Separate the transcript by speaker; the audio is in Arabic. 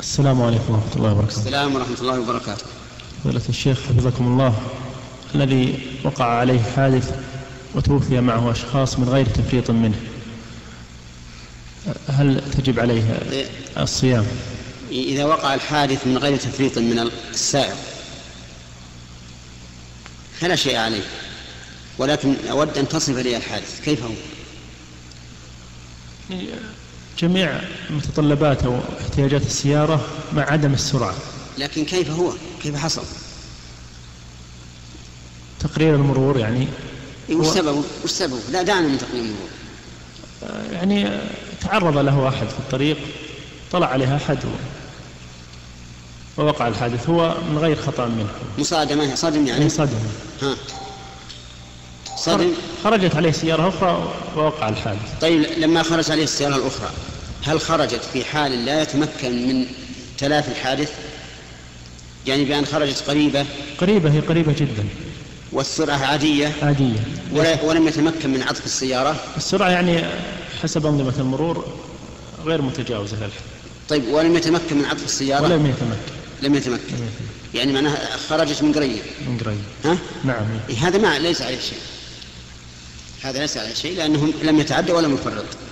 Speaker 1: السلام عليكم ورحمة الله وبركاته
Speaker 2: السلام ورحمة الله وبركاته
Speaker 1: فضيلة الشيخ حفظكم الله الذي وقع عليه حادث وتوفي معه أشخاص من غير تفريط منه هل تجب عليه الصيام
Speaker 2: إيه، إذا وقع الحادث من غير تفريط من السائق فلا شيء عليه ولكن أود أن تصف لي الحادث كيف هو
Speaker 1: جميع متطلبات أو احتياجات السيارة مع عدم السرعة
Speaker 2: لكن كيف هو كيف حصل
Speaker 1: تقرير المرور يعني
Speaker 2: إيه، وش سببه وش سببه لا دعنا من تقييم الأمور
Speaker 1: آه، يعني آه، تعرض له أحد في الطريق طلع عليه أحد و- ووقع الحادث هو من غير خطأ منه
Speaker 2: مصادمة صدم يعني
Speaker 1: يعني صدم
Speaker 2: ها صدم
Speaker 1: خرجت عليه سيارة أخرى ووقع الحادث
Speaker 2: طيب لما خرج عليه السيارة الأخرى هل خرجت في حال لا يتمكن من تلافي الحادث يعني بأن خرجت قريبة
Speaker 1: قريبة هي قريبة جدا
Speaker 2: والسرعة عادية
Speaker 1: عادية
Speaker 2: ولا- ولم يتمكن من عطف السيارة
Speaker 1: السرعة يعني حسب أنظمة المرور غير متجاوزة للحد
Speaker 2: طيب ولم يتمكن من عطف السيارة
Speaker 1: ولم يتمكن
Speaker 2: لم
Speaker 1: لم
Speaker 2: يتمكن
Speaker 1: يتمكن
Speaker 2: يعني معناها خرجت من قريب
Speaker 1: من قريب
Speaker 2: ها إيه،
Speaker 1: نعم
Speaker 2: هذا ما ليس عليه شيء هذا ليس عليه شيء لأنهم لم يتعدى ولم يفرط